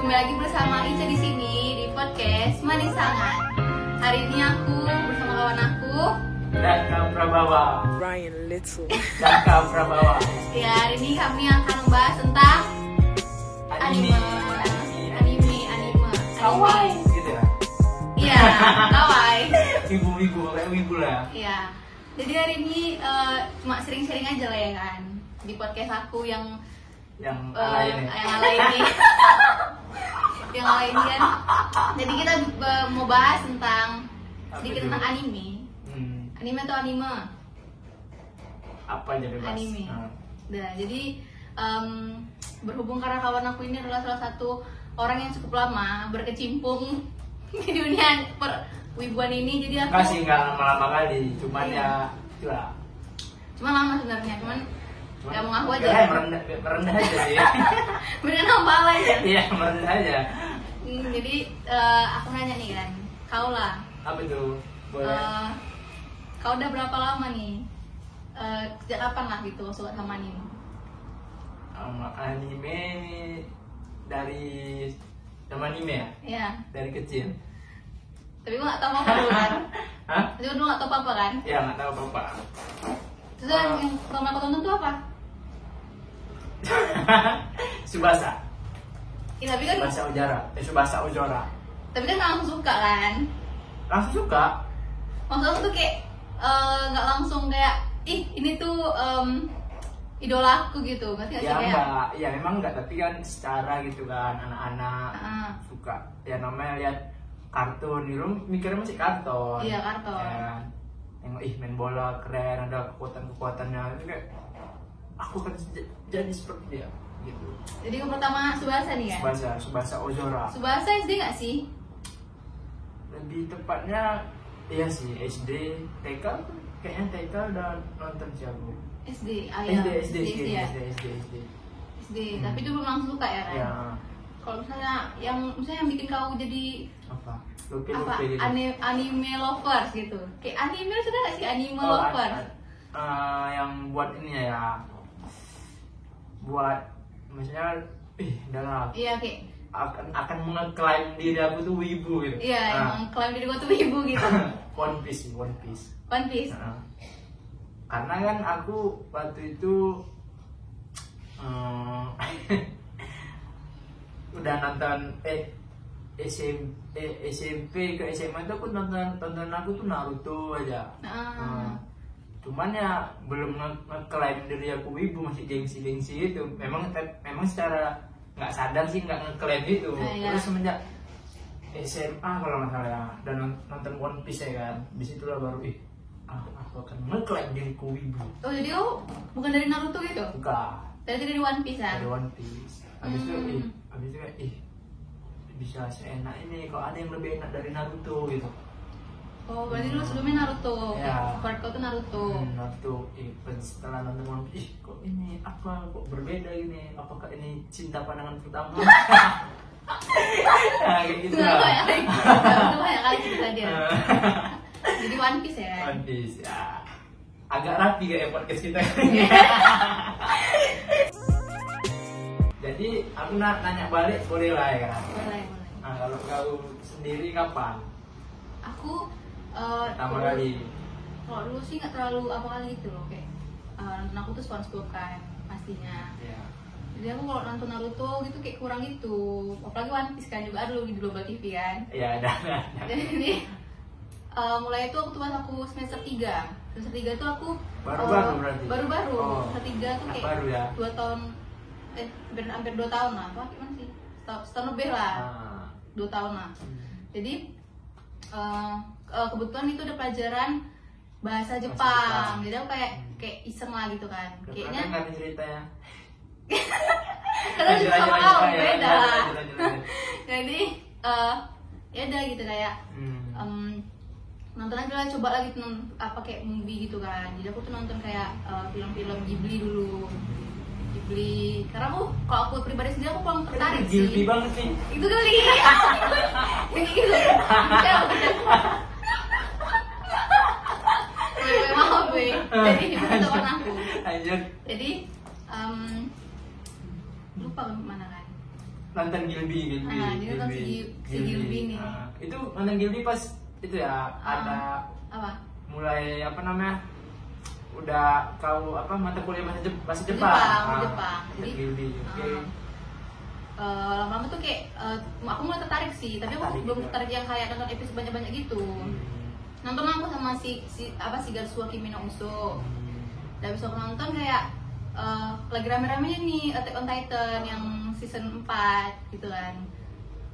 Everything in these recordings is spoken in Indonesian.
kembali lagi bersama Ica di sini di podcast Manis Sangat. Hari ini aku bersama kawan aku. dan Kang Prabawa Ryan Little. dan Kang Prabawa Ya, hari ini kami akan membahas tentang anime, anime, anime, kawaii anime. gitu ya Iya, kawaii. ibu-ibu kayak ibu lah Iya. Jadi hari ini eh, cuma sering-sering aja lah ya kan di podcast aku yang yang ya? Eh, ala yang ala ini ini yang ala ini kan jadi kita eh, mau bahas tentang Apa sedikit itu? tentang anime hmm, anime atau anime apa aja bebas anime Hmm. nah jadi em, berhubung karena kawan aku ini adalah salah satu orang yang cukup lama berkecimpung di dunia per wibuan ini jadi Enggak aku sih nggak lama-lama kali cuman Iya. ya itulah cuma lama sebenarnya cuman Cuman- nggak mau ngaku aja Ya, merendah, merendah aja sih beneran nambah lah ya iya merendah aja Hmm, jadi eh, aku nanya nih kan kau lah apa itu boleh Eh, kau udah berapa lama nih? Eh, sejak kapan lah gitu suka sama anime? Um, anime dari sama anime ya Ya, dari kecil tapi gua gak tau apa-apa dulu kan Hah? Tapi gua dulu gak tau apa-apa kan ya nggak tahu apa-apa Terus yang, Ah. yang pertama kau tonton tuh apa? Subasa Ya, tapi kan Subasa Ujara eh, Subasa Ujora tapi kan gak langsung suka kan langsung suka Maksud aku tuh kayak eh, gak langsung kayak Ih ini tuh em, idola aku gitu Ngerti gak sih ya kayak mbak ya memang enggak tapi kan secara gitu kan anak-anak Ah, suka ya namanya lihat kartun dulu mikirnya masih kartun Iya, kartun. Ya kan? tengok ih main bola keren ada kekuatan kekuatannya itu kayak aku kan jadi seperti dia gitu Jadi yang pertama Subasa nih kan Subasa Subasa Ozora Subasa SD gak sih? lebih tepatnya iya sih SD TK kayaknya TK udah nonton jago SD, ah, ya. SD SD SD ya SD SD SD SD, Hmm. tapi dulu langsung suka ya kan? ya kalau misalnya yang misalnya yang bikin kau jadi apa lupi apa lupi gitu. anime, anime lovers gitu kayak anime sudah nggak sih anime Oh, lovers ada- eh, yang buat ini ya, ya buat misalnya ih dalam iya kayak akan akan mengeklaim diri aku tuh wibu gitu iya Ah, emang klaim diri gua tuh ibu gitu one piece sih, one piece One Piece Ah. karena kan aku waktu itu eh, udah nonton eh SM, eh, SMP ke SMA tuh aku nonton tonton aku tuh Naruto aja nah, Hmm. Cuman ya belum nge- ngeklaim diri aku ibu masih gengsi-gengsi itu. Memang te- memang secara nggak sadar sih nggak ngeklaim itu. Ah, iya. Terus semenjak SMA kalau nggak salah ya, dan non- nonton One Piece ya kan. Di situlah baru ih ah, aku akan ngeklaim diriku ibu. oh jadi kau bukan dari Naruto gitu Buka dari dari One Piece kan dari One Piece. Habis itu Hmm. ih, habis itu kayak ih bisa seenak ini kok ada yang lebih enak dari Naruto gitu. oh berarti dulu sebelumnya Naruto Iya. Favorit kau tuh Naruto Hmm, Naruto event setelah nonton One Piece, ih kok ini apa kok berbeda ini? Apakah ini cinta pandangan pertama? nah, kayak gitu Nggak lah. banyak kali Naruto banyak kali cerita dia jadi One Piece ya kan Iya. One Piece ya. Agak rapi kayak podcast kita. Jadi aku nak nanya balik boleh lah ya kan? boleh boleh Nah, kalau kau sendiri kapan? aku eh, Pertama dulu- kali. kalau dulu sih nggak terlalu apa kali gitu loh kayak eh, nonton aku tuh SpongeBob kan pastinya Ya. jadi aku kalau nonton Naruto gitu kayak kurang gitu apalagi One Piece kan juga ada dulu di Global TV kan Ya ada. ada. jadi eh, mulai itu waktu pas aku semester 3 semester 3 tuh aku Baru-baru eh, berarti? baru-baru Oh. semester 3 tuh Anak kayak baru ya. 2 tahun eh hampir, hampir 2 tahun lah apa gimana sih setahun, setahun lebih lah Ah. 2 tahun lah jadi eh, eh, kebetulan itu ada pelajaran bahasa Jepang. Jepang. Jadi aku kayak Hmm. kayak iseng lah gitu kan. Kayaknya Kayaknya kan ceritanya. karena Lanjut, juga sama lanjut, kau lanjut, beda. lanjut, lanjut, lanjut. Jadi eh, ya udah gitu kayak Hmm. em, nonton aja lah coba lagi nonton apa kayak movie gitu kan. Jadi aku tuh nonton kayak eh, film-film Ghibli dulu. Ghibli karena aku kalau aku pribadi sendiri aku kurang tertarik sih. Guilty banget sih. itu kali ini gitu Bukan, bukan. Weh, maaf weh jadi itu teman aku Lanjut. jadi em, lupa kemana kan nonton Gilby Gilby Ah, dia nonton si Gil- si Ah. Gilby nih. Ah, itu nonton Gilby pas itu ya ada apa mulai apa namanya udah kau apa mata kuliah bahasa Jep- bahasa Jepang Jepang, Ah, Jepang. Jadi, Gilby oke ah, eh, lama-lama tuh kayak eh, aku mulai tertarik sih tapi aku Tertarik belum juga. tertarik yang kayak nonton episode banyak-banyak gitu Hmm. nonton aku sama si, si apa si Garsuwa Kimi no Uso Hmm. udah bisa aku nonton kayak eh, lagi rame-rame nih Attack on Titan yang season 4 gitu kan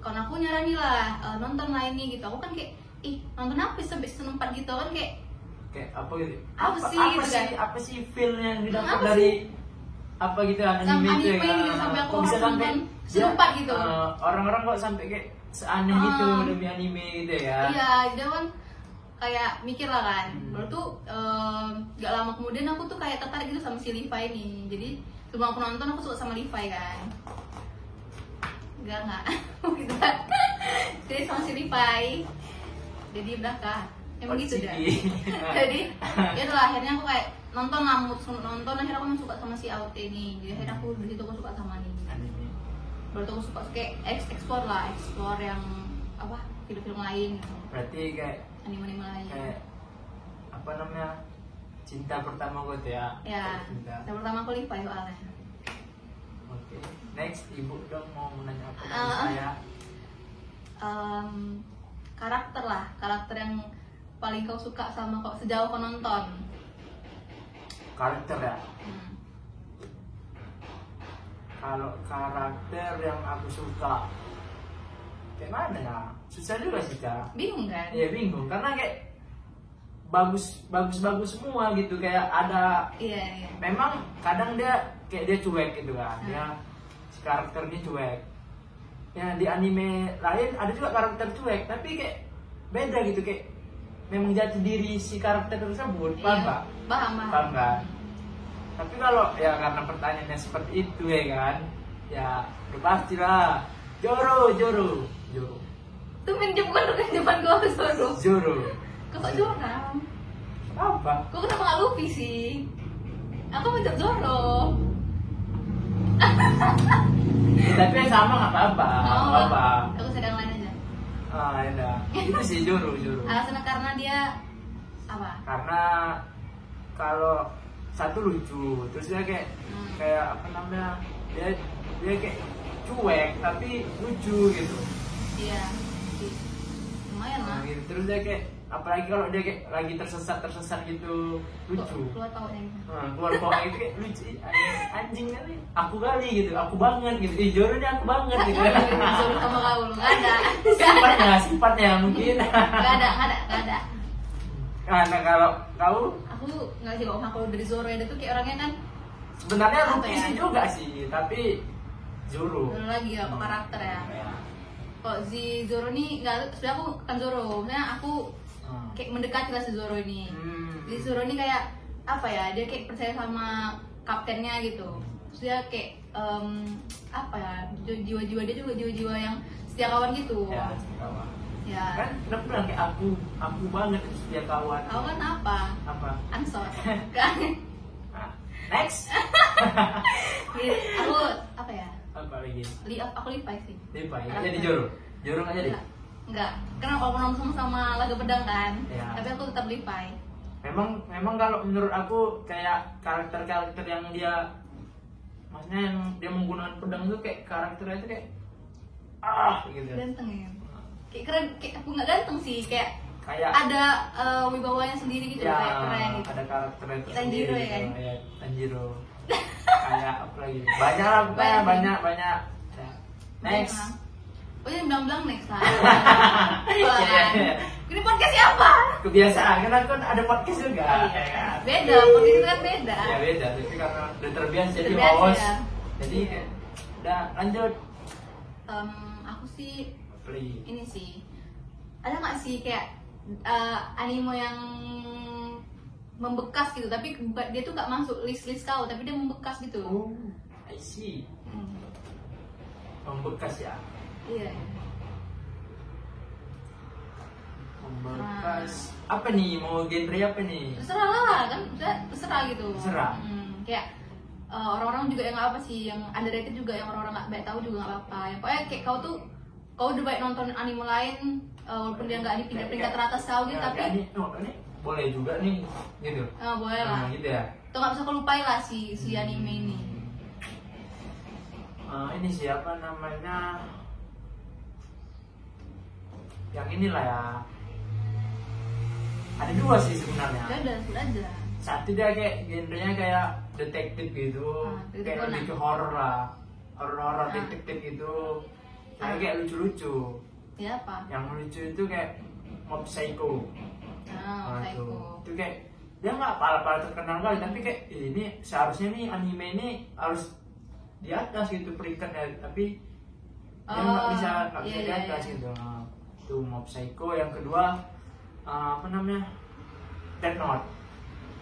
Kawan aku nyaranin lah eh, nonton lah ini gitu aku kan kayak ih nonton apa sih sampai season 4 gitu kan kayak kayak apa gitu Apa sih apa gitu sih kan? apa sih feel yang didapat Apa dari apa gitu anime Sama itu ya anime kan? gitu, sampai aku Kok bisa harus sampai nonton ya, serempak gitu. eh, orang-orang kok sampai kayak seaneh Ah. gitu demi anime gitu ya Iya, dia kan kayak mikir lah kan. Hmm. Lalu tuh em, gak lama kemudian aku tuh kayak tertarik gitu sama si Levi ini. Jadi sebelum aku nonton aku suka sama Levi kan. Enggak enggak. gitu kan. Jadi sama si Levi. Jadi udah kah? Emang gitu dah. Jadi ya itulah akhirnya aku kayak nonton lah mood nonton akhirnya aku suka sama si Aute ini. Jadi akhirnya aku di situ aku suka sama ini Anime. baru tuh aku suka kayak eks- explore lah explore yang apa film-film lain gitu berarti kayak anime-anime lain kayak apa namanya cinta pertama gue tuh ya ya cinta yang pertama aku lipai soalnya oke next ibu dong mau nanya apa Ah. sama saya Em, karakter lah karakter yang paling kau suka sama kok sejauh kau nonton karakter ya Hmm. kalau karakter yang aku suka kayak mana ya susah juga sih cara bingung kan ya bingung karena kayak bagus bagus bagus semua gitu kayak ada iya iya memang kadang dia kayak dia cuek gitu kan dia si karakternya cuek ya di anime lain ada juga karakter cuek tapi kayak beda gitu kayak memang jati diri si karakter tersebut Iya. paham nggak? paham Paham nggak? tapi kalau ya karena pertanyaannya seperti itu ya kan ya udah pasti lah Joro Joro Joro tuh menjemput depan kau harus baru Joro kau kok jorang apa kau kenapa nggak lupi sih aku mencet Zoro Ya, tapi yang sama nggak apa-apa nggak Oh, apa-apa aku sedang lain aja ah ya udah. itu sih Joro Joro alasannya karena dia apa karena kalau satu lucu terus dia kayak Hmm. kayak apa namanya dia dia kayak cuek tapi lucu gitu Iya. Lumayan lah. Nah, gitu. terus dia kayak apalagi kalau dia kayak lagi tersesat tersesat gitu lucu Keluar tawanya gitu. Nah, keluar kok itu kayak lucu ih, anjing- anjing kali aku kali gitu aku banget gitu ih Joro ini aku banget Nggak gitu ada yang disuruh sama kau, lu. nggak ada. Nggak ada. sifatnya sifatnya mungkin Nggak ada, nggak ada, nggak ada. karena kalau kau Aku nggak sih kalau kalau dari Zoro itu kayak orangnya kan sebenarnya Apa Ruki ya? sih juga sih tapi Hmm. Iya. Joro Zoro lagi ya, kok karakter ya. Kok si Zoro ini nggak, sebenarnya aku bukan Zoro, maksudnya aku Hmm. kayak mendekati lah si Zoro ini. Hmm. Jadi Zoro ini kayak apa ya? Dia kayak percaya sama kaptennya gitu. Terus dia kayak em, apa ya? Jiwa-jiwa dia juga jiwa-jiwa yang setia kawan gitu. Ya, kawan. Ya. Kan udah bilang kayak aku, aku banget dia kawan. Kau kan apa? Apa? Ansor. Kan? Nah, next. Jadi aku apa ya? Apa lagi? Li aku Levi sih. Depa, Apa? ya Iya. jadi Joro. Joro nggak jadi. Enggak. Enggak. Karena aku nonton sama laga pedang kan. Iya. Tapi aku tetap Levi. Memang, memang kalau menurut aku kayak karakter-karakter yang dia, maksudnya yang dia menggunakan pedang itu kayak karakternya itu kayak ah gitu. Ganteng ya. Kayak keren, kayak aku nggak ganteng sih, kayak Kayak ada eh, wibawanya sendiri gitu, ya, kayak keren gitu. ada karakter itu Tanjiro ya kan? ya Tanjiro kayak apa lagi banyak lah pokoknya Banyak. banyak banyak Ya. next Oh jadi bilang-bilang next lah. Iya, Apaan? iya. Ini podcast siapa? kebiasaan kan aku ada podcast juga ya kan? Beda, podcast itu kan beda. ya beda tapi karena udah terbiasa jadi Terbiasa, host ya. jadi ya, udah lanjut Em, aku sih play ini sih ada nggak sih kayak eh, anime yang membekas gitu tapi ba- dia tuh nggak masuk list list kau tapi dia membekas gitu oh I see Hmm, membekas ya iya membekas apa nih mau genre apa nih terserah lah kan terserah gitu Terserah. Hmm, kayak eh, orang-orang juga yang nggak apa sih yang underrated juga yang orang-orang nggak baik tahu juga nggak apa-apa yang pokoknya kayak kau tuh kau udah baik nonton anime lain eh, walaupun dia nggak di Kayak- peringkat kayak- teratas kau gitu ya, tapi kayak ini, oh, ini boleh juga nih gitu eh, boleh lah Nah, gitu ya itu nggak bisa kau lupain lah si si anime ini Eh, ini siapa namanya yang inilah ya ada dua sih sebenarnya udah ada udah ada satu dia kayak genrenya kayak detektif gitu Ah, detektif kayak Conan. lebih ke horror lah horror horror Ah. detektif gitu Ah. Tapi kayak lucu lucu ya apa yang lucu itu kayak mob psycho nah Nah, itu. psycho itu kayak dia nggak pala-pala terkenal kali tapi kayak "Ih, ini seharusnya nih anime ini harus di atas gitu peringkatnya tapi dia nggak Oh, bisa nggak bisa iya, di iya, atas iya. gitu Nah, itu mob psycho yang kedua eh, apa namanya Death Note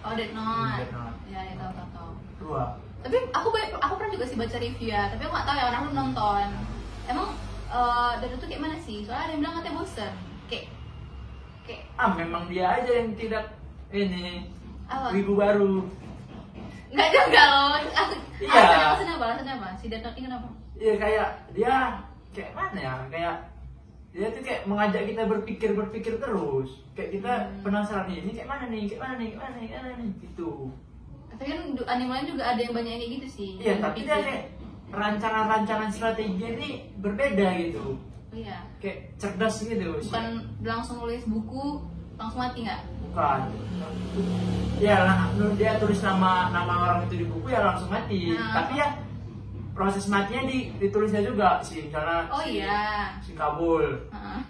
oh Dead Note Death Note. ya ya tahu tahu tahu dua tapi aku banyak- aku pernah juga sih baca review ya tapi aku nggak tahu ya orang belum nonton emang eh dari itu kayak mana sih soalnya ada yang bilang katanya bosen kayak kayak ah memang dia aja yang tidak ini Apa? wibu baru nggak juga loh aku Iya. alasannya alasannya apa alasannya apa si Death Note ini kenapa ya kayak dia kayak mana ya kayak dia tuh kayak mengajak kita berpikir berpikir terus kayak kita Hmm. penasaran nih ini kayak mana nih kayak mana nih kayak mana nih kayak mana nih gitu tapi kan du- anime lain juga ada yang banyak yang kayak gitu sih iya Yang tapi bikin- dia kayak rancangan-rancangan strategi ini berbeda gitu Oh iya kayak cerdas gitu sih. bukan langsung nulis buku langsung mati nggak bukan ya lah, dia tulis nama nama orang itu di buku ya langsung mati Nah. tapi ya proses matinya di, ditulisnya juga sih misalnya oh si- iya si kabul Heeh.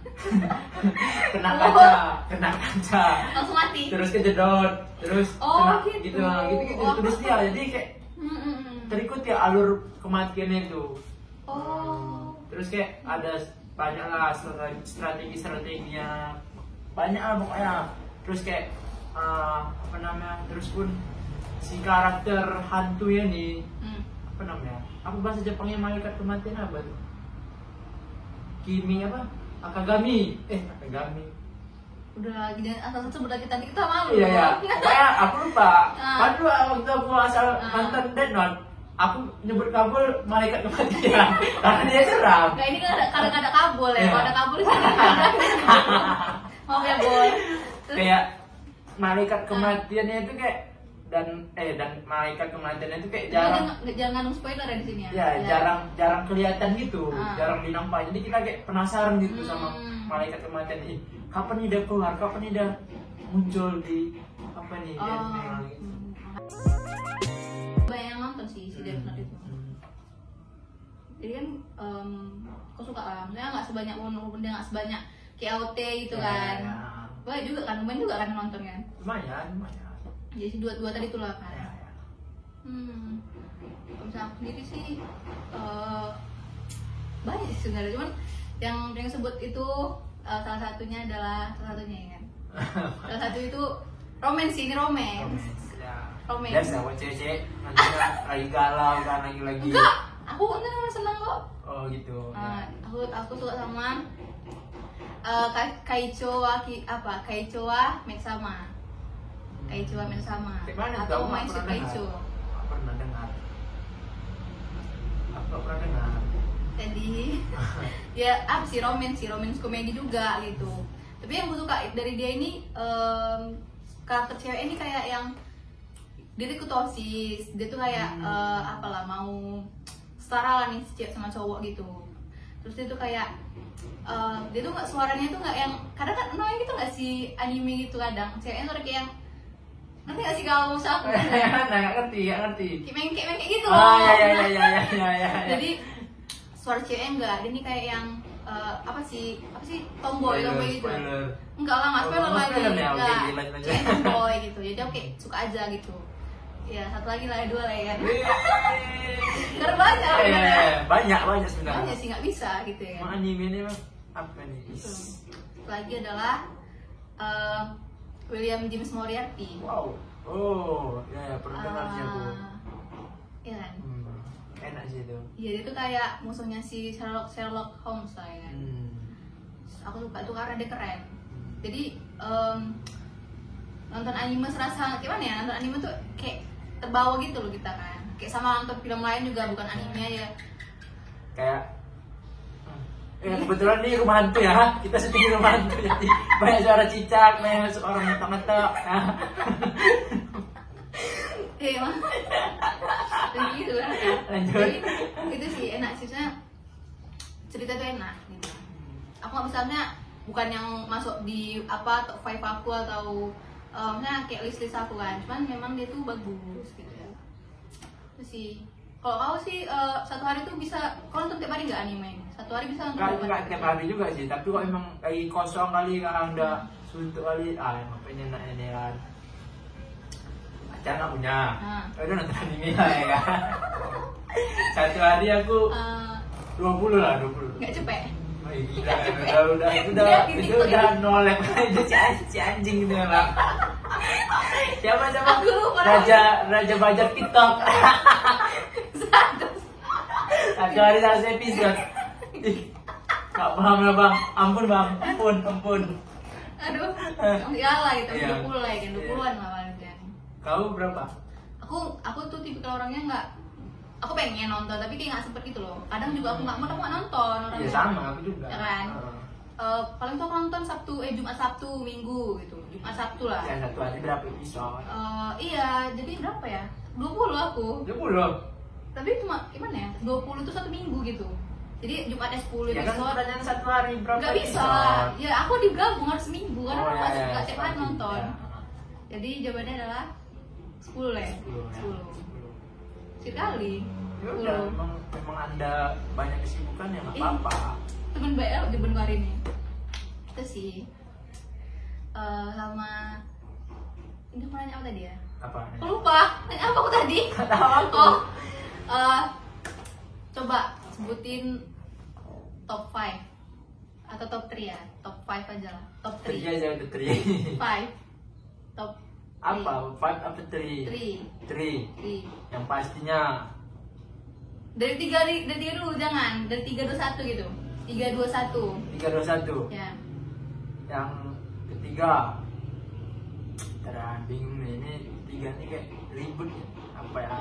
kena Oh. kaca kena kaca langsung mati terus kejedot terus Oh, kena, gitu. gitu gitu gitu Wah. terus dia jadi kayak Hmm, hmm, hmm. terikut ya alur kematiannya itu oh terus kayak ada banyak lah strategi strateginya banyak lah pokoknya terus kayak eh, apa namanya terus pun si karakter hantunya nih Hmm. apa namanya apa bahasa Jepangnya malaikat kematian apa tuh kimi apa akagami eh akagami udah jangan asal sebut lagi tadi kita malu Iya ya, pokoknya aku lupa. Ah. Kan dulu waktu aku asal Ah. nonton Dead Note, aku nyebut kabul malaikat kematian karena dia seram. Nah ini kan ada, kalau nggak ada kabul ya, Iya. kalau ada kabul itu nggak ada. Maaf ya boy. Terus, Kayak malaikat kematiannya itu kayak dan eh dan malaikat kematiannya itu kayak tapi jarang jangan jangan spoiler ya di sini ya. ya jarang jarang kelihatan gitu, Ah. jarang dinampak. Jadi kita kayak penasaran gitu sama Hmm. malaikat kematian ini. Kapan nih dia keluar? Kapan nih dia muncul di apa nih? Oh. Death Note gitu. Hmm. Banyak yang nonton sih si Death Note itu. Hmm. Jadi kan em aku suka lah. Maksudnya nggak sebanyak One Woman dia nggak sebanyak KOT gitu Ya, kan. ya. Banyak juga kan, banyak juga kan yang nonton kan. Lumayan, lumayan. Jadi si dua-dua tadi tuh lah kan. Ya, ya. Hmm, kalau misalnya aku sendiri sih eh, banyak sih sebenarnya, cuman yang yang sebut itu eh, salah satunya adalah salah satunya ya kan. salah satu itu romance sih, ini romance. Romance. Biasa buat cewek-cewek nanti kan lagi galau kan lagi-lagi. Enggak, aku enggak sama senang kok. Oh gitu. Eh, aku aku suka sama eh, Ka- Kaichowa Ki- apa Kaichowa Metsama. Kaichowa Metsama. Kayak mana tuh? Atau Aku nggak Maishu pernah dengar. Kaicho. Nggak pernah dengar. Aku nggak pernah dengar. jadi ya apa sih romance sih romance komedi juga gitu tapi yang gue suka dari dia ini em, karakter cewek ini kayak yang dia tuh kutosis dia tuh kayak Hmm. eh, apalah mau setara lah nih si cewek sama cowok gitu terus dia tuh kayak eh, dia tuh nggak suaranya tuh nggak yang kadang kan annoying gitu nggak sih anime gitu kadang ceweknya tuh ada kayak yang nanti nggak sih kalau usah aku kayak Nah, nggak ngerti, nggak ngerti. mengkek mengkek gitu loh Oh ya ya ya ya ya ya. ya. jadi suara cewek enggak dia nih kayak yang eh, apa sih apa sih tomboy Spoiler, tomboy gitu spoiler. enggak lah nggak Oh, spoiler nggak lagi spoiler iya. ya? Oke, enggak lanjut aja. cewek tomboy gitu jadi oke suka aja gitu ya satu lagi lah dua lah ya kan Wih. Ntar banyak, Eh, banyak. banyak banyak banyak sebenarnya. sih nggak bisa gitu ya Mau anime ini emang apa nih? Gitu. Satu lagi adalah eh, William James Moriarty Wow. Oh, ya, ya pernah dengar sih aku. Ah, iya kan Hmm, enak sih itu. Iya dia tuh kayak musuhnya si Sherlock Sherlock Holmes lah ya kan Hmm. aku suka tuh karena dia keren jadi em, nonton anime serasa gimana ya nonton anime tuh kayak terbawa gitu loh kita kan kayak sama nonton film lain juga bukan anime ya kayak eh, kebetulan ini rumah hantu ya kita syuting di rumah hantu jadi banyak suara cicak banyak suara ngetok-ngetok Nah, Iya emang Jadi gitu lah ya. Lanjut. Jadi itu sih enak sih sebenarnya cerita tuh enak gitu Aku nggak misalnya bukan yang masuk di apa top 5 aku atau eh, misalnya kayak list-list aku kan Cuman memang dia tuh bagus gitu ya Itu sih kalau kau sih eh, satu hari tuh bisa, kau nonton tiap hari nggak anime? Satu hari bisa nonton nggak berapa? nggak tiap hari juga sih tapi kok emang lagi kosong kali kadang udah suntuk kali ah emang pengen enak ini kan pacar nggak punya Ah. Ya udah nonton anime lah ya kan satu hari aku Eh, 20 lah 20 nggak cepet? Oh, iya, udah udah itu udah gitu itu udah ya. nolep aja si anjing, si anjing gitu lah siapa siapa Aku lupa. raja raja bajak tiktok Satu. satu hari satu episode Ih, nggak paham lah bang ampun bang ampun ampun Aduh, ya lah gitu, Iya. 20 lah ya, 20-an lah paling. ya. kau berapa aku aku tuh tipikal orangnya nggak aku pengen nonton tapi kayak nggak sempet gitu loh kadang juga aku nggak mood aku nggak nonton orangnya ya sama aku juga Oh. Ya kan? Heeh. Eh, paling tuh aku nonton sabtu eh jumat sabtu minggu gitu jumat sabtu lah ya satu hari berapa episode Eh, iya jadi berapa ya 20 aku ya belum tapi cuma gimana ya 20 tuh satu minggu gitu jadi jumatnya 10 ya kan episode pertanyaan satu hari berapa nggak bisa Iya, lah episode? ya aku digabung harus minggu karena Oh, aku ya, nggak ya, nggak tiap hari seperti- nonton ya, jadi jawabannya adalah 10 ya 10, ya. 10 Sepuluh. sekali Ya udah, 10 emang, emang anda banyak kesibukan ya nggak Hmm. Ih. apa-apa. temen baik lah di Benwar ya? ini itu sih Eh, sama ini aku nanya apa tadi ya Apa? aku lupa nanya apa aku tadi Nggak tahu aku. oh eh, coba sebutin top 5 atau top 3 ya top 5 aja lah top Teri 3 5 aja udah teri. top apa? Five apa teri? 3 Teri. 3 Yang pastinya dari tiga dari tiga dulu jangan dari tiga dua satu gitu tiga dua satu tiga dua satu. ya Yang ketiga. Terang bingung nih ini tiga nih kayak ribut ya. Apa ya?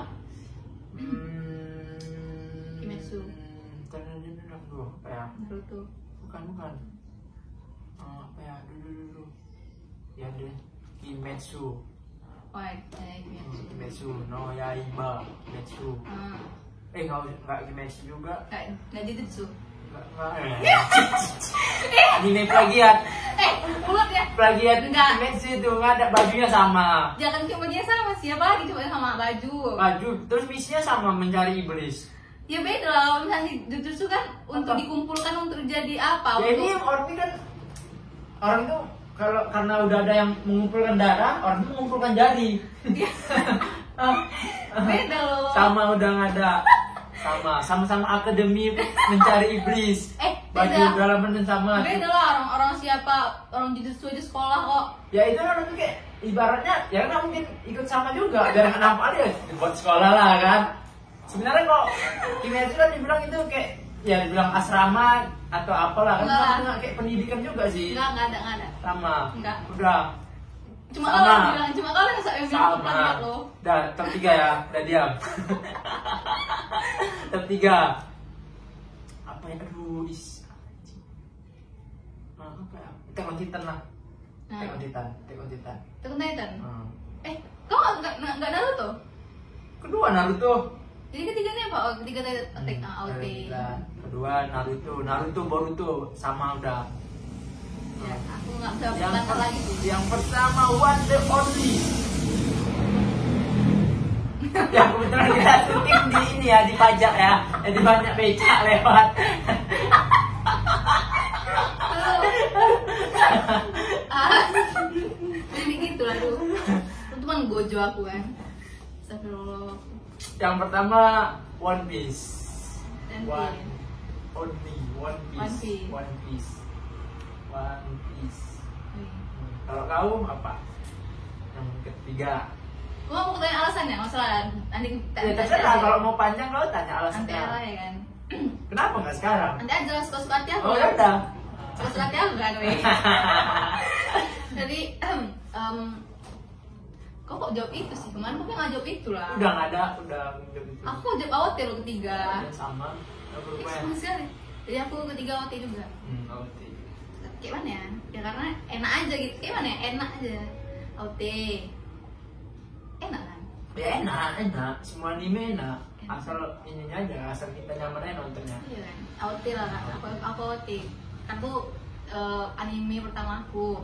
Hmm. Kimetsu. Terang bingung dulu apa ya? Naruto bukan bukan Eh, apa ya dulu dulu ya deh Kimetsu oh ya, ya, ya. Hmm, Kimetsu no Yaiba Kimetsu Ah. eh nggak nggak Kimetsu juga Kayak nggak jujutsu. nggak nggak eh. anime plagiat Eh, mulut ya. plagiat Nggak. Kimetsu itu nggak ada bajunya sama Jangan cuma dia sama siapa lagi cuma dia sama baju. baju terus misinya sama mencari iblis Ya beda lah, misalnya jujutsu kan untuk Apa? dikumpulkan untuk jadi apa? ya ini Untuk orang ini kan orang tuh kalau karena udah ada yang mengumpulkan darah orang tuh mengumpulkan jari dia iya. beda loh. sama udah nggak ada sama sama-sama akademi mencari iblis Eh, baju beda. dalaman dan sama Beda lah orang-orang siapa orang jujutsu aja sekolah kok. ya itu kan nanti kayak ibaratnya ya nggak mungkin ikut sama juga biar nggak nampak dia buat sekolah lah kan sebenarnya kok kimetsu kan dibilang itu kayak ya dibilang asrama atau apalah kan Enggak. sama dengan kayak pendidikan juga sih Enggak, enggak ada, enggak ada. sama Enggak. udah Cuma Sama. kalau yang bilang, cuma kalau yang saya bilang bukan sama lo. dah top tiga ya udah diam top tiga apa ya aduh is anjing. Nah, apa ya Attack on Titan lah Nah, Attack on Titan Attack on Titan Attack on Titan. Hmm. Eh, kau enggak enggak enggak Naruto? kedua Naruto Jadi ketiganya apa? Oh, ketiga Titan Attack on Hmm, Attack on Titan. Titan. kedua Naruto Naruto Boruto sama udah Ya, aku nggak bisa yang, berangkat per- lagi tuh. yang pertama one the only yang kebetulan kita syuting di ini ya di pajak ya eh, di banyak becak lewat Ah, jadi gitu lah tuh. Itu cuma gojo aku kan. Astagfirullah. yang pertama One Piece Dan One Only One One Piece Piece. One Piece One Piece Hmm, kalau kau apa yang ketiga Gua mau tanya alasannya, masalah nanti kita ya terserah kalau mau panjang kau tanya nanti lah alasannya ya kan. kenapa nggak sekarang Nanti aja lah suka suka hati aku. oh kan? ya udah Suka suka hati aku kan, weh. Jadi em, kok kok jawab itu sih kemarin kok nggak jawab itu lah udah nggak ada udah udah gitu aku jawab awet lo ketiga Udah sama nggak Ih, berubah sama sekali jadi aku ketiga OT juga hmm, OT kayak mana ya ya karena enak aja gitu kayak mana ya enak aja OT enak kan ya enak enak semua anime enak asal ininya aja asal kita nyamannya nontonnya iya kan OT lah kan aku aku OT aku eh, anime pertama aku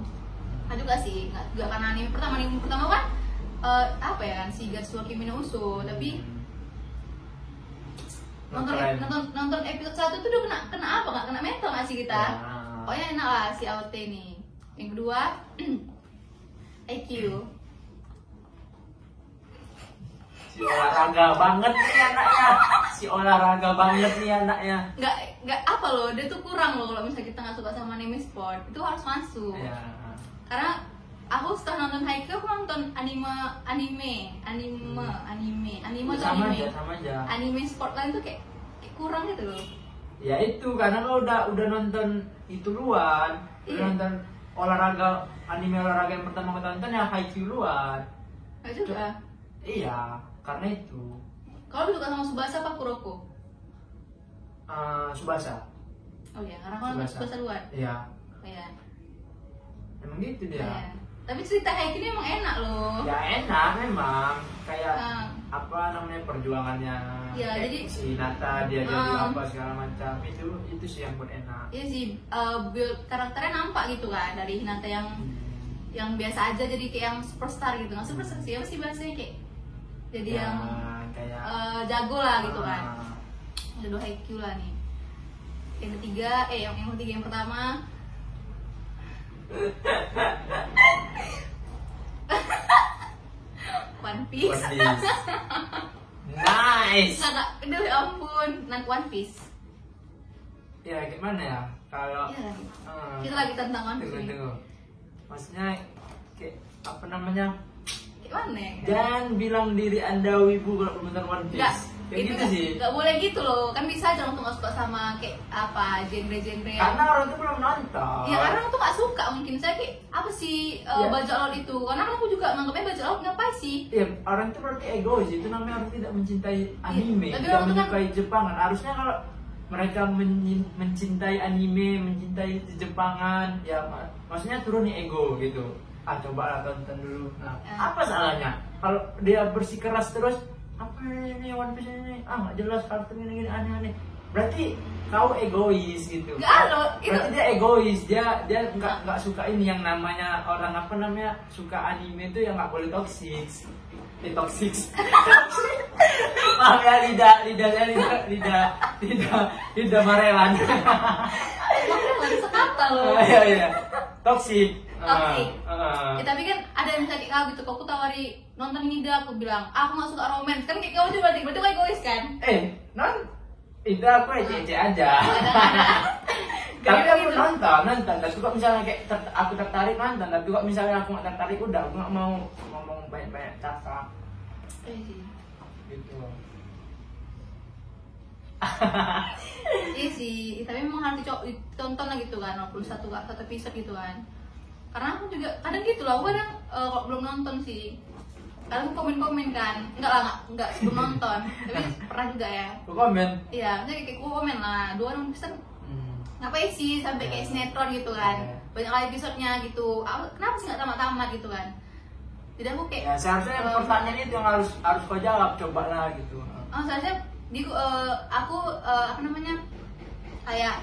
aduh gak sih nggak nggak karena anime pertama anime pertama kan eh, apa ya kan si Gatsuo Kimi no Uso tapi Hmm. nonton, Keren. nonton nonton episode satu tuh udah kena kena apa nggak kena mental nggak sih kita Oh, ya. Nah. pokoknya enak lah si AOT nih yang kedua IQ si olahraga banget nih anaknya si olahraga banget nih anaknya nggak nggak apa loh dia tuh kurang loh kalau misalnya kita nggak suka sama anime sport itu harus masuk ya karena aku setelah nonton Haikyuu aku nonton anime anime anime anime anime tuh sama anime aja sama aja anime sport lain tuh kayak, kayak kurang gitu loh ya itu karena lo udah udah nonton itu luan udah Iya. nonton olahraga anime olahraga yang pertama kita nonton ya Haikyuu luan nggak juga iya karena itu kalau lebih suka sama Subasa apa Kuroko eh, Subasa oh iya karena aku nonton Tsubasa. Subasa duluan iya oh iya emang gitu dia Iya. Tapi cerita kayak gini emang enak loh. ya enak memang kayak Ah, apa namanya perjuangannya Iya, Kayak jadi- si Nata dia jadi Ah. apa segala macam itu itu sih yang buat enak Iya sih, eh, build karakternya nampak gitu kan dari Hinata yang yang biasa aja jadi kayak yang superstar gitu nggak superstar sih apa sih bahasanya kayak jadi Ya, yang kayak eh, jago lah gitu kan ah, ada dua IQ lah nih yang ketiga eh yang, yang ketiga yang pertama One Piece One Piece. nice Nggak, nggak. aduh ya ampun Nah, One Piece ya gimana ya kalau Iya lagi. ah, kita lagi tentang One Piece tunggu nih. tunggu maksudnya kayak apa namanya kayak mana ya? jangan bilang diri anda wibu kalau belum nonton One Enggak, Piece kayak itu gitu nggak- sih nggak boleh gitu loh. Kan bisa aja orang tuh nggak suka sama kayak apa genre-genre yang karena orang tuh belum nonton Ya karena orang tuh nggak suka mungkin saya kayak apa sih uh, Ya. bajak laut itu? Karena kan aku juga nganggapnya bajak laut ngapain sih? Iya, orang itu berarti egois itu namanya orang tidak mencintai anime, Iya, tapi tidak orang itu kan- menyukai Jepangan. Harusnya kalau mereka menyi- mencintai anime, mencintai Jepangan, ya ma- maksudnya turunin ego gitu. Ah coba lah tonton dulu. Nah, Ya. apa salahnya? Kalau dia bersikeras terus, apa ini One Piece ini? Ah nggak jelas kartun ini gini aneh-aneh. Berarti kau egois gitu. Nggak ada, itu- Berarti dia egois, dia dia nggak nggak suka ini yang namanya orang apa namanya suka anime itu yang nggak boleh toxic. Eh, toxic. Maaf ya lidah lidahnya lidah lidah lidah lidah marelan. Makanya lagi sekata loh. Iya iya. Toxic. Toxic. Eh, eh. Ya, tapi kan ada yang bisa kayak kau gitu. Kok aku tawari nonton ini dah aku bilang, ah, aku nggak suka romance. Kan kayak kau juga berarti berarti kau egois kan? Eh, non itu aku Ah. ece-ece aja. tapi Gara-gara aku gitu. nonton nonton tapi kok misalnya kayak ter- aku tertarik nonton tapi kok misalnya aku nggak tertarik udah aku nggak mau ngomong banyak banyak cakap Iya sih. gitu Iya sih, tapi memang harus dico- ditonton lah gitu kan, walaupun satu satu episode gitu kan. Karena aku juga kadang gitu loh, aku kadang eh, kalau belum nonton sih, kadang aku komen-komen kan, enggak lah, enggak, enggak sebelum nonton, tapi pernah juga ya. aku komen Iya, jadi kayak aku komen lah, dua orang episode hmm. ngapain sih sampai kayak sinetron gitu Iya. kan, banyak lah episodenya gitu, Apa- kenapa sih nggak tamat-tamat gitu kan? Jadi aku kayak ya seharusnya yang pertanyaan itu yang harus harus kau jawab cobalah gitu Oh, seharusnya di eh, aku eh, apa namanya kayak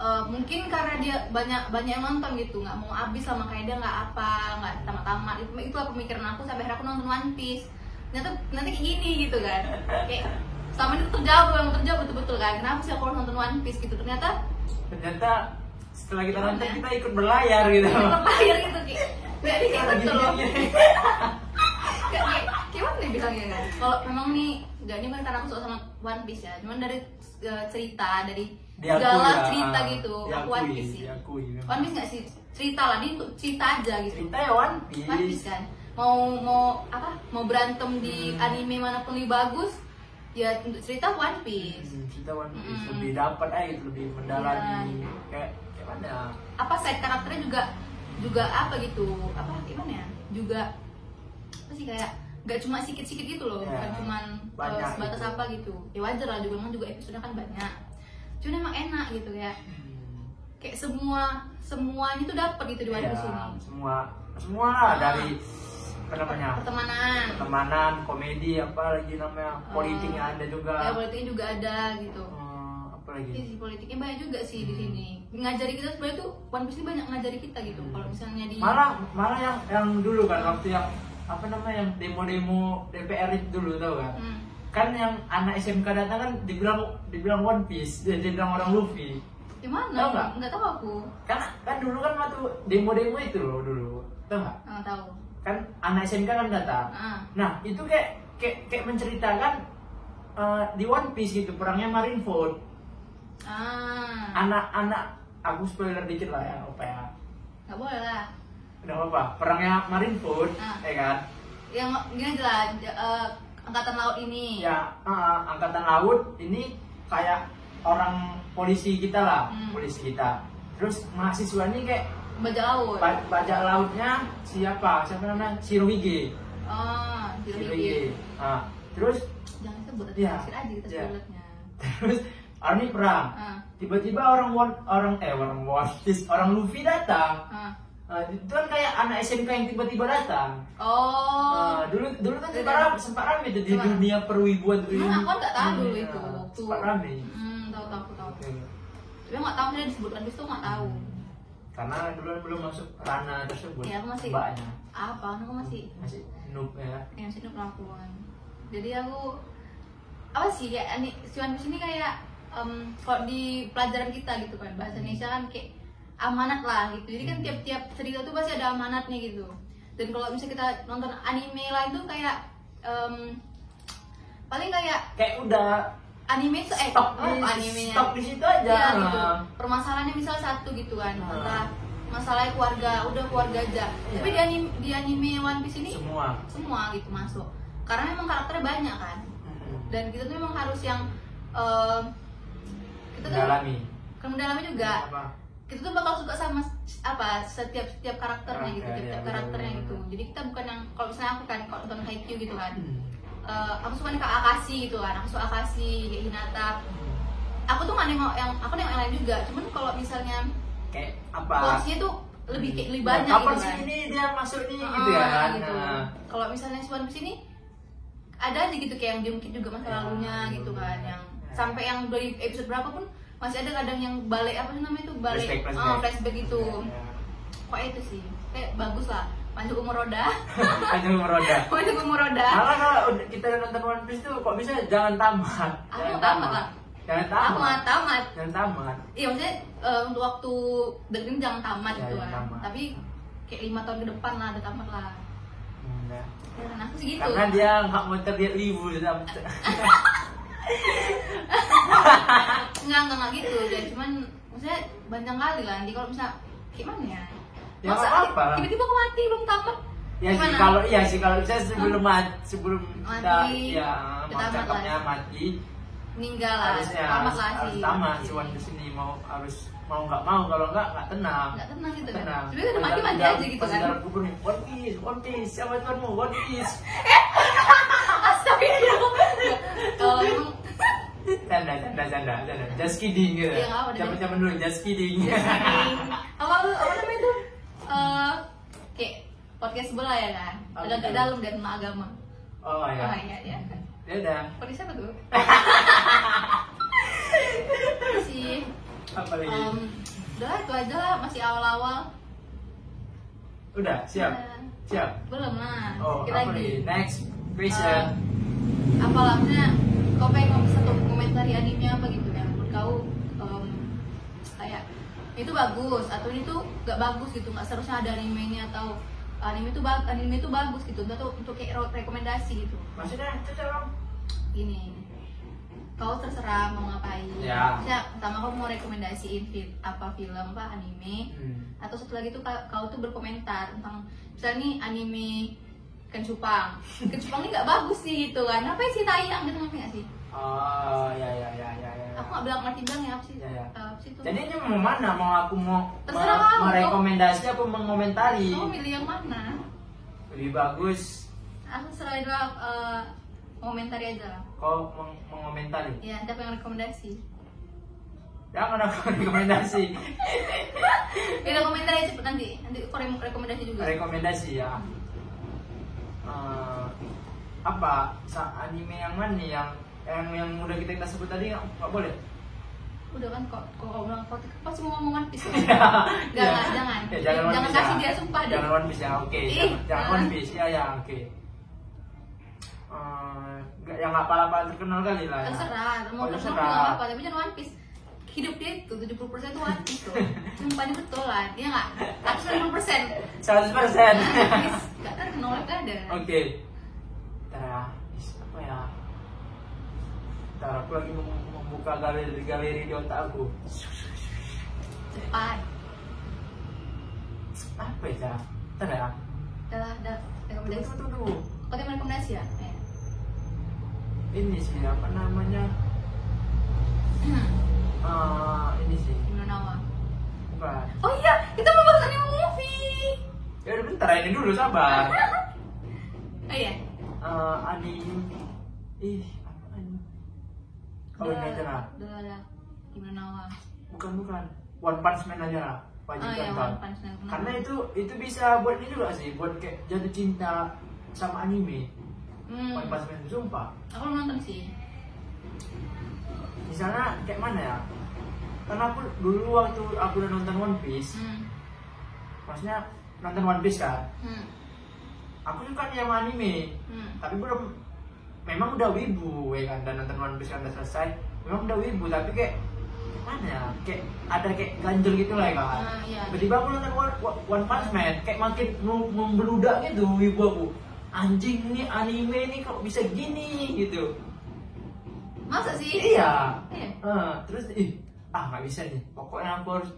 eh, mungkin karena dia banyak banyak yang nonton gitu nggak mau habis sama kayak dia nggak apa nggak tamat-tamat itu itulah pemikiran aku sampai akhirnya aku nonton One Piece ternyata nanti kayak gini gitu kan kayak sama itu terjawab memang terjawab betul-betul kan kenapa sih aku harus nonton One Piece gitu ternyata ternyata setelah kita Gimana? nonton kita ikut berlayar gitu terpikir gitu kayak jadi kayak Gini, betul loh gini, gini. Gak, kayak, kayak mana nih bilangnya kan? Kalau memang nih, gak ini bukan karena aku suka sama One Piece ya, cuman dari eh, cerita, dari Diakui segala lah, Ah, cerita gitu, aku diakui, One Piece sih. diakui memang. One Piece gak sih? Cerita lah, ini untuk cerita aja gitu. cerita ya One One Piece Piece kan, mau mau apa? Mau berantem di Hmm. anime manapun lebih bagus, ya untuk cerita One Piece. Hmm, cerita One Piece Mm-mm. lebih dapat aja gitu lebih mendalami Iya. kayak kayak mana Apa side karakternya juga juga apa gitu? Apa gimana ya? Juga apa sih kayak gak cuma sikit-sikit gitu loh Ya, bukan cuman eh, banyak sebatas gitu. apa gitu ya wajar lah juga emang juga episode kan banyak cuman emang enak gitu kayak kayak semua semuanya tuh dapat gitu di wadah Iya, sini semua semua lah Ah. dari apa namanya pertemanan ya? Ah. pertemanan komedi apa lagi namanya politiknya ada juga ya politiknya juga ada gitu Eh, apa Iya lagi sih politiknya banyak juga sih di Hmm. sini. Ngajari kita sebenarnya tuh One Piece ini banyak ngajari kita gitu. Hmm. Kalau misalnya di malah malah yang yang dulu kan waktu yang apa namanya yang demo-demo DPR itu dulu tau kan Hmm. kan yang anak SMK datang kan dibilang dibilang One Piece dia, dia bilang orang Luffy di Ya mana? Tahu nggak? Nggak tahu aku. kan kan dulu kan waktu demo-demo itu loh dulu tau nggak Nggak tahu. kan anak SMK kan datang Ah. nah itu kayak kayak, kayak menceritakan eh, di One Piece gitu perangnya Marineford Ah. anak-anak aku spoiler dikit lah ya apa ya Nggak boleh lah. udah apa perangnya Marineford Ah. ya kan Yang gini aja lah j- eh, angkatan laut ini. ya eh, angkatan laut ini kayak orang polisi kita lah Hmm. polisi kita terus mahasiswa ini kayak Bajak laut. ba- bajak lautnya siapa siapa namanya Shirohige oh, jadi Shirohige Ah, terus Jangan sebut Iya. yeah. aja kita Iya. spoilernya. terus army perang Ah. tiba-tiba orang one, orang eh orang One Piece, orang Luffy datang Ah. Ah, itu kan kayak anak SMK yang tiba-tiba datang Oh. Ah, dulu dulu kan Iya. sempat rame, sempat rame tuh di Sempat. dunia perwibuan tuh. Nah, aku nggak tahu dulu Iya, itu. Waktu. Sempat rame. Hmm, tahu tahu aku tahu. Oke. Tapi nggak tahu misalnya disebut One Piece tuh nggak tahu. Karena dulu belum masuk ranah tersebut. Iya, aku masih- mbaknya. Apa? kan Aku masih masih noob ya. yang sini perempuan jadi aku apa sih kayak ini One Piece ini kayak em, kalau di pelajaran kita gitu kan bahasa Indonesia kan kayak amanat lah gitu jadi Hmm. kan tiap-tiap cerita tuh pasti ada amanatnya gitu dan kalau misalnya kita nonton anime lain tuh kayak em, paling kayak Kayak udah anime tuh eh stop oh, di animenya stop di situ aja. Ah. Iya, gitu. Permasalahannya misal satu gitu kan. Hmm. Masalah masalahnya keluarga, udah keluarga aja. Iya. Tapi di anime, di anime One Piece ini Semua. semua gitu masuk. Karena memang karakternya banyak kan. Mm-mm. Dan kita tuh memang harus yang eh, kita tuh Mendalami. kan mendalami juga. Apa? Kita tuh bakal suka sama s- apa setiap setiap karakternya gitu, Karakter, setiap iya, tiap benar, karakternya benar, gitu. benar. Jadi kita bukan yang kalau misalnya aku kan kalau nonton Haikyuu gitu kan. Hmm. eh, aku suka ke Akashi gitu kan. Aku suka Akashi, kayak Hinata, aku tuh nggak nengok yang aku nengok yang lain juga cuman kalau misalnya Kayak apa? porsinya tuh lebih kayak lebih Nah, banyak Kapan gitu sih kan ini dia masuk nih Ah, gitu ya kan? gitu. Nah, kalau misalnya Swan Piece ini ada aja gitu kayak yang diungkit juga masa Ya. lalunya gitu kan yang Ya. sampai yang dari episode berapa pun masih ada kadang yang balik apa sih namanya itu balik Flashback, flashback. oh, flashback gitu Iya, iya. kok itu sih kayak bagus lah panjang umur roda Panjang umur roda. panjang umur roda Malah kalau udah- kita udah nonton One Piece tuh kok bisa jangan tamat. Aku Jangan Ah, nggak tamat, Kak. Jangan aku tamat. nggak tamat Jangan tamat. Iya maksudnya eh, untuk waktu dengerin jangan tamat Ya, gitu jangan kan. tamat. Tapi kayak lima tahun ke depan lah ada tamat lah. Hmm, dah. Dan aku sih gitu. Karena dia nggak mau terlihat libur dalam Enggak enggak enggak gitu. Dan cuman maksudnya panjang kali lah. Nanti kalau misalnya gimana ya? Ya, nggak apa-apa lah. tiba-tiba aku mati belum tamat. Ya sih Gimana? kalau iya sih kalau bisa sebelum mat sebelum kita Mati. ya Udah mau tamat cakepnya lah. mati meninggal lah. harusnya tamat harus, lah harus sih. tamat si One Piece ini mau harus mau nggak mau kalau nggak nggak tenang. Enggak tenang gitu kan. Tenang. Tapi udah mati mati Pas aja gitu pas kan. dalam kubur nih, One Piece, One Piece, siapa tuanmu One Piece. Astagfirullah. Kalau emang Canda, canda, canda, canda. Just kidding gitu. Iya, nggak apa-apa. Iya. Zaman-zaman dulu just kidding. apa apa namanya tuh? Eh kayak podcast sebelah ya kan. Oh, Agak-agak gitu. dalam dan agama. Oh Oh ya. iya iya. Dadah. Kode siapa tuh? si Apa lagi? um, udah lah, itu aja lah masih awal-awal Udah, siap. Udah. Siap. belum lah Oh, Dikit apa lagi? Next question. Eh, apalah maksudnya kau pengen ngomong satu komentari anime apa gitu ya menurut kau em, kayak itu bagus atau ini tuh gak bagus gitu nggak seharusnya ada animenya atau anime itu ba- anime itu bagus gitu untuk untuk kayak ro- rekomendasi gitu Maksudnya itu siapa? gini kau terserah mau ngapain Ya. Misalnya, pertama kau mau rekomendasiin fit apa film apa anime Hmm. atau satu lagi tuh ka- kau tuh berkomentar tentang misalnya nih anime kencupang kencupang ini nggak bagus sih gitu kan apa sih tayang gitu ngerti nggak sih Oh, ya ya ya ya ya. aku nggak bilang ngerti bilang ya apa sih Ya, ya. Eh, apa sih tuh Jadi ini mau mana? Mau aku mau Terserah mau- kamu. merekomendasi apa mengomentari? kamu milih yang mana Lebih bagus aku selalu drop eh, komentari aja lah Kau meng- mengomentari. ya siapa yang rekomendasi Jangan aku rekomendasi. ya komentar aja cepet nanti nanti aku re- rekomendasi juga rekomendasi ya Eh, apa sa- anime yang mana nih yang yang yang udah kita kita sebut tadi nggak nggak boleh udah kan kok kok kau bilang kau kau semua ngomong kan, One Piece Ya. jangan jangan Ya, jangan One Piece, kasih ya. dia sumpah deh jangan one piece ya oke Ih, jangan, jangan ah. one piece ya ya oke Eh, nggak- yang nggak apa-apa terkenal kali lah ya. terserah Oh, mau terserah terserah. nggak apa-apa tapi jangan One Piece hidup dia itu 70% itu One Piece tuh sumpah ini betulan ya nggak 150% 100% nggak terkenal nggak ada oke Ntar ya is, apa ya Ntar aku lagi mem- membuka galeri-galeri di otak aku cepat apa ya cara Ntar ya adalah ada tunggu rekomendasi tunggu tunggu kau tiap rekomendasi ya Eh. ini sih apa namanya Eh, ini sih Gimana Nawa? bukan oh iya kita mau bahas anime movie ya udah bentar ini dulu sabar oh iya Eh, anime ih apa ini oh Ya. ini aja lah udah ada Gimana Nawa? bukan bukan One Punch Man aja lah wajib oh iya tonton One Punch Man karena itu itu bisa buat ini juga sih buat kayak jatuh cinta sama anime hmm. One Punch Man sumpah aku belum nonton sih misalnya kayak mana ya karena aku dulu waktu aku udah nonton One Piece hmm. maksudnya nonton One Piece kan Hmm. aku suka nih sama anime Hmm. tapi belum memang udah wibu ya kan dan nonton One Piece kan udah selesai memang udah wibu tapi kayak mana ya kayak ada kayak ganjel gitu lah ya kan Ah, iya. tiba-tiba aku nonton One, One Punch Man kayak makin mem- membeludak gitu wibu aku anjing nih anime nih kok bisa gini gitu masa sih iya Iya. Eh, terus ih ah nggak bisa nih pokoknya aku harus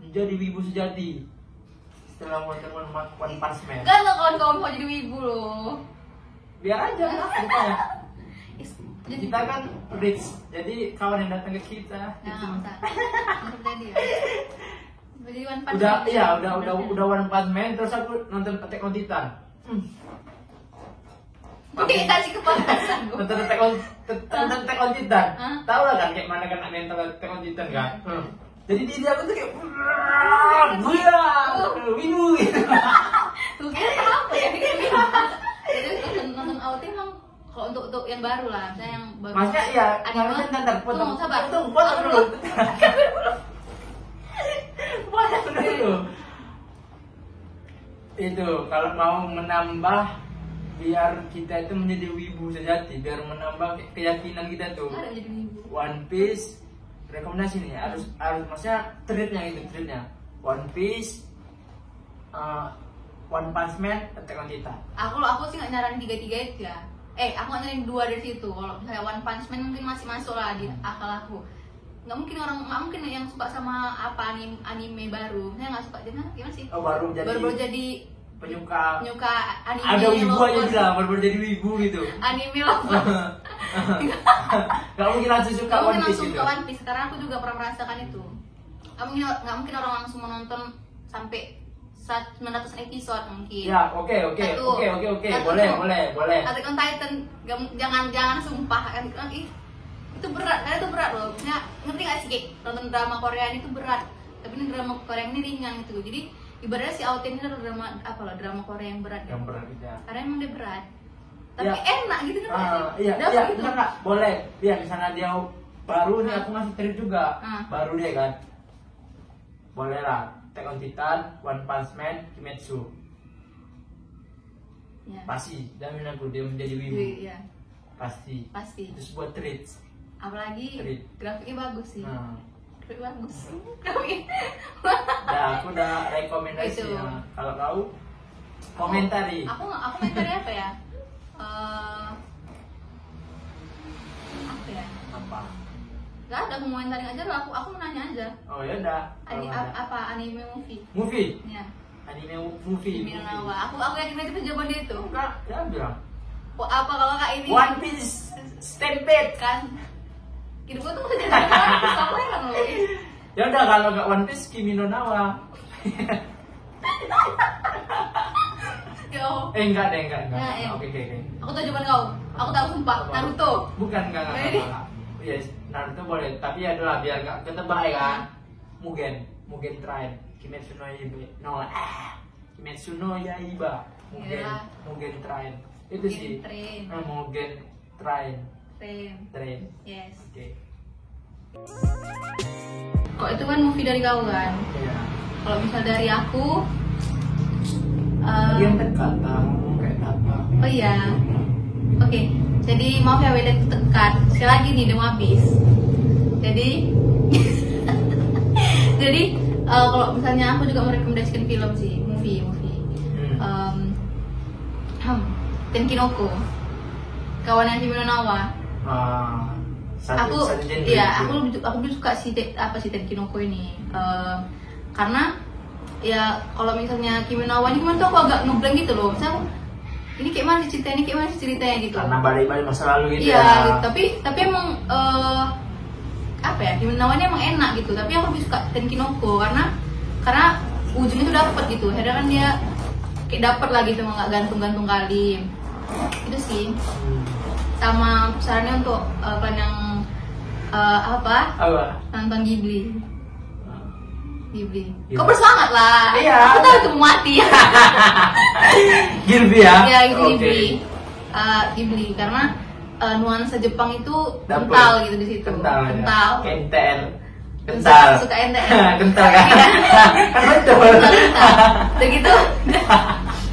menjadi wibu sejati setelah nonton One, One Punch Man Gak lah Kan kawan-kawan mau jadi wibu loh biar aja lah ceritanya. Is- jadi kita kan rich jadi kawan yang datang ke kita Nah, gitu. masa Menurut tadi ya Jadi One Punch udah Man. iya udah udah ya. udah one punch man terus aku nonton Attack on Titan Hmm. Gue kayak kasih kepanasan gue nonton Attack on tet- nonton Attack on Titan Hah? tau lah kan kayak mana kan mental Attack on Titan kan Hmm. jadi diri aku tuh kayak gue wibu gitu Tuh kira apa ya Jadi nonton nonton AOT emang kalau untuk untuk yang baru lah, misalnya yang baru. maksudnya iya Ada nggak bisa banget. ntar potong Tunggu, sabar. potong potong dulu potong dulu itu kalau mau menambah biar kita itu menjadi wibu sejati biar menambah ke- keyakinan kita tuh Nggak ada jadi wibu. One Piece rekomendasi nih harus harus maksudnya treatnya itu treatnya One Piece uh, One Punch Man Attack on Titan Aku kalau aku sih nggak nyaranin tiga tiga itu ya. Eh, aku nggak nyaranin dua dari situ. Kalau misalnya One Punch Man mungkin masih masuk lah di Hmm. akal aku. Nggak mungkin orang nggak mungkin yang suka sama apa anime, anime baru. Misalnya nggak suka dengan gimana sih? oh, baru jadi Baru baru jadi penyuka penyuka anime. ada wibu aja lovers. lah baru baru jadi wibu gitu Anime lovers. Gak mungkin langsung suka Gak One mungkin Piece langsung gitu. ke One Piece karena aku juga pernah merasakan itu nggak mungkin nggak mungkin orang langsung menonton sampai 900 episode mungkin Ya, oke, oke, Satu. oke, oke, oke, Satu. boleh, boleh, boleh. Attack on Titan nggak mu- jangan jangan sumpah kan ih itu berat karena itu berat loh Maksudnya, ngerti gak sih kayak nonton drama Korea ini tuh berat tapi ini drama Korea ini ringan gitu jadi ibaratnya si Aoten ini adalah drama apa loh drama Korea yang berat Yang berat gitu ya. karena emang dia berat tapi Ya. enak gitu kan Ah, iya, iya, gitu. bener nggak? boleh. Iya, misalnya dia baru nih aku masih trip juga, Ah. baru deh kan. Boleh lah. Attack on Titan, One Punch Man, Kimetsu, ya. pasti. Jamin aku dia menjadi wibu, Iya, pasti. pasti Terus buat treats. apalagi Keren. grafiknya bagus sih Nah, grafiknya bagus grafiknya ya, aku udah rekomendasi Itu. Oh, ya. Kalau kau komentari. aku nggak- aku komentari apa ya Eh, apa ya Apa? nggak ada aku komentarin aja lah aku aku nanya aja Oh ya udah. Ani- a- apa anime movie Movie, ya anime movie. movie. Minanawa aku aku yakin itu jawaban dia itu Enggak, ya bilang. Kok apa kalau kak ini One Piece Stampede. kan hidup gua tuh udah jadi orang aku heran loh Ya udah kalau nggak One Piece Kimi no Na wa. ya kau. Eh enggak deh, enggak, enggak. Nah, eh. Oke, oke, oke. Aku tahu jawaban kau. Aku tahu sumpah Naruto. Bukan, enggak, enggak, enggak, Jadi? enggak. Ya, Naruto boleh, tapi ya adalah biar enggak ketebak Iya. ya kan. Mugen, Mugen Train, Kimetsu no Yaiba. No, ah. Kimetsu no Yaiba. Mugen, Iya. Mugen Train. Itu Mungkin sih. Train. Eh, Mugen Train, Train. Train. Yes. Oke. Kok itu kan movie dari kau kan? Iya. Kalau misal dari aku eh, Yang dekat, ah, kayak apa? Oh iya. Oke, jadi maaf ya beda tekan. Sekali lagi nih demo habis. Jadi jadi eh, kalau misalnya aku juga merekomendasikan film sih, movie, movie. Hmm. Um, hmm, Tenkinoko. Kawannya Himeno Nawa. Ah, satu, aku satu genre iya, gitu. aku lebih- aku lebih suka si Te- apa si Tenkinoko ini. Eh, karena ya kalau misalnya Kimi no Nawa ini kemarin tuh aku agak ngeblank gitu loh. Misalnya aku, ini kayak mana sih ceritanya, ini kayak mana sih ceritanya gitu. karena balik-balik masa lalu gitu Iya, ya. tapi tapi emang eh, apa ya? Himenawannya emang enak gitu. Tapi aku lebih suka Tenkinoko karena karena ujungnya tuh dapet gitu. Akhirnya kan dia kayak dapet lah gitu, nggak gantung-gantung kali. Itu sih. Hmm. Sama sarannya untuk eh, kalian yang eh, apa Apa? nonton Ghibli. Ghibli. Kau Gimana? bersemangat lah. Iya. Aku tahu itu mau mati. Gilby ya? Iya, itu Oke. Ghibli. Eh, Ghibli karena eh, nuansa Jepang itu Dapet. kental gitu di situ. Kental. ya. Kental. Kentel. Kental. Suka- suka NTL. kental kan? kan betul. Kental, kental. Udah gitu.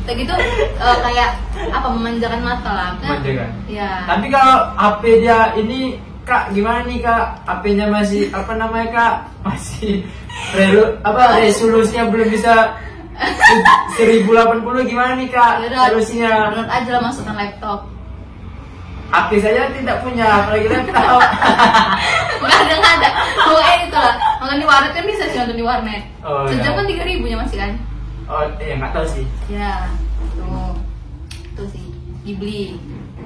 Udah gitu eh, kayak apa memanjakan mata lah. Kan? Memanjakan. Iya. Tapi kalau HP dia ini Kak, gimana nih kak? HP-nya masih apa namanya kak? Masih relu, apa resolusinya belum bisa 1080 gimana nih kak? Yaudah, Resolusinya download aja lah masukkan laptop. HP saja tidak punya, apalagi laptop. Enggak ada enggak ada. Pokoknya itu lah. Nonton di warnet kan bisa sih nonton di warnet. Oh, iya. Sejam kan 3000 nya masih kan. Oh, ya nggak tahu sih. Ya, tuh, itu sih dibeli.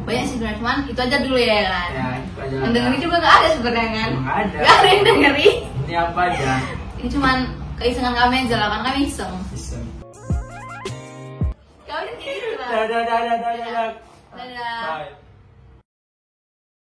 Banyak sih sebenarnya cuman itu aja dulu ya kan. Ya, itu aja. lah, Yang dengerin Kak. juga gak ada sebenarnya kan. Nggak ada. Gak ada yang dengerin. Ini apa ya? aja? Ini cuman keisengan kami aja lah kan kami iseng. Iseng. Kau udah kayak gitu lah. Dadah, dadah, dadah, dadah. Dadah. Bye.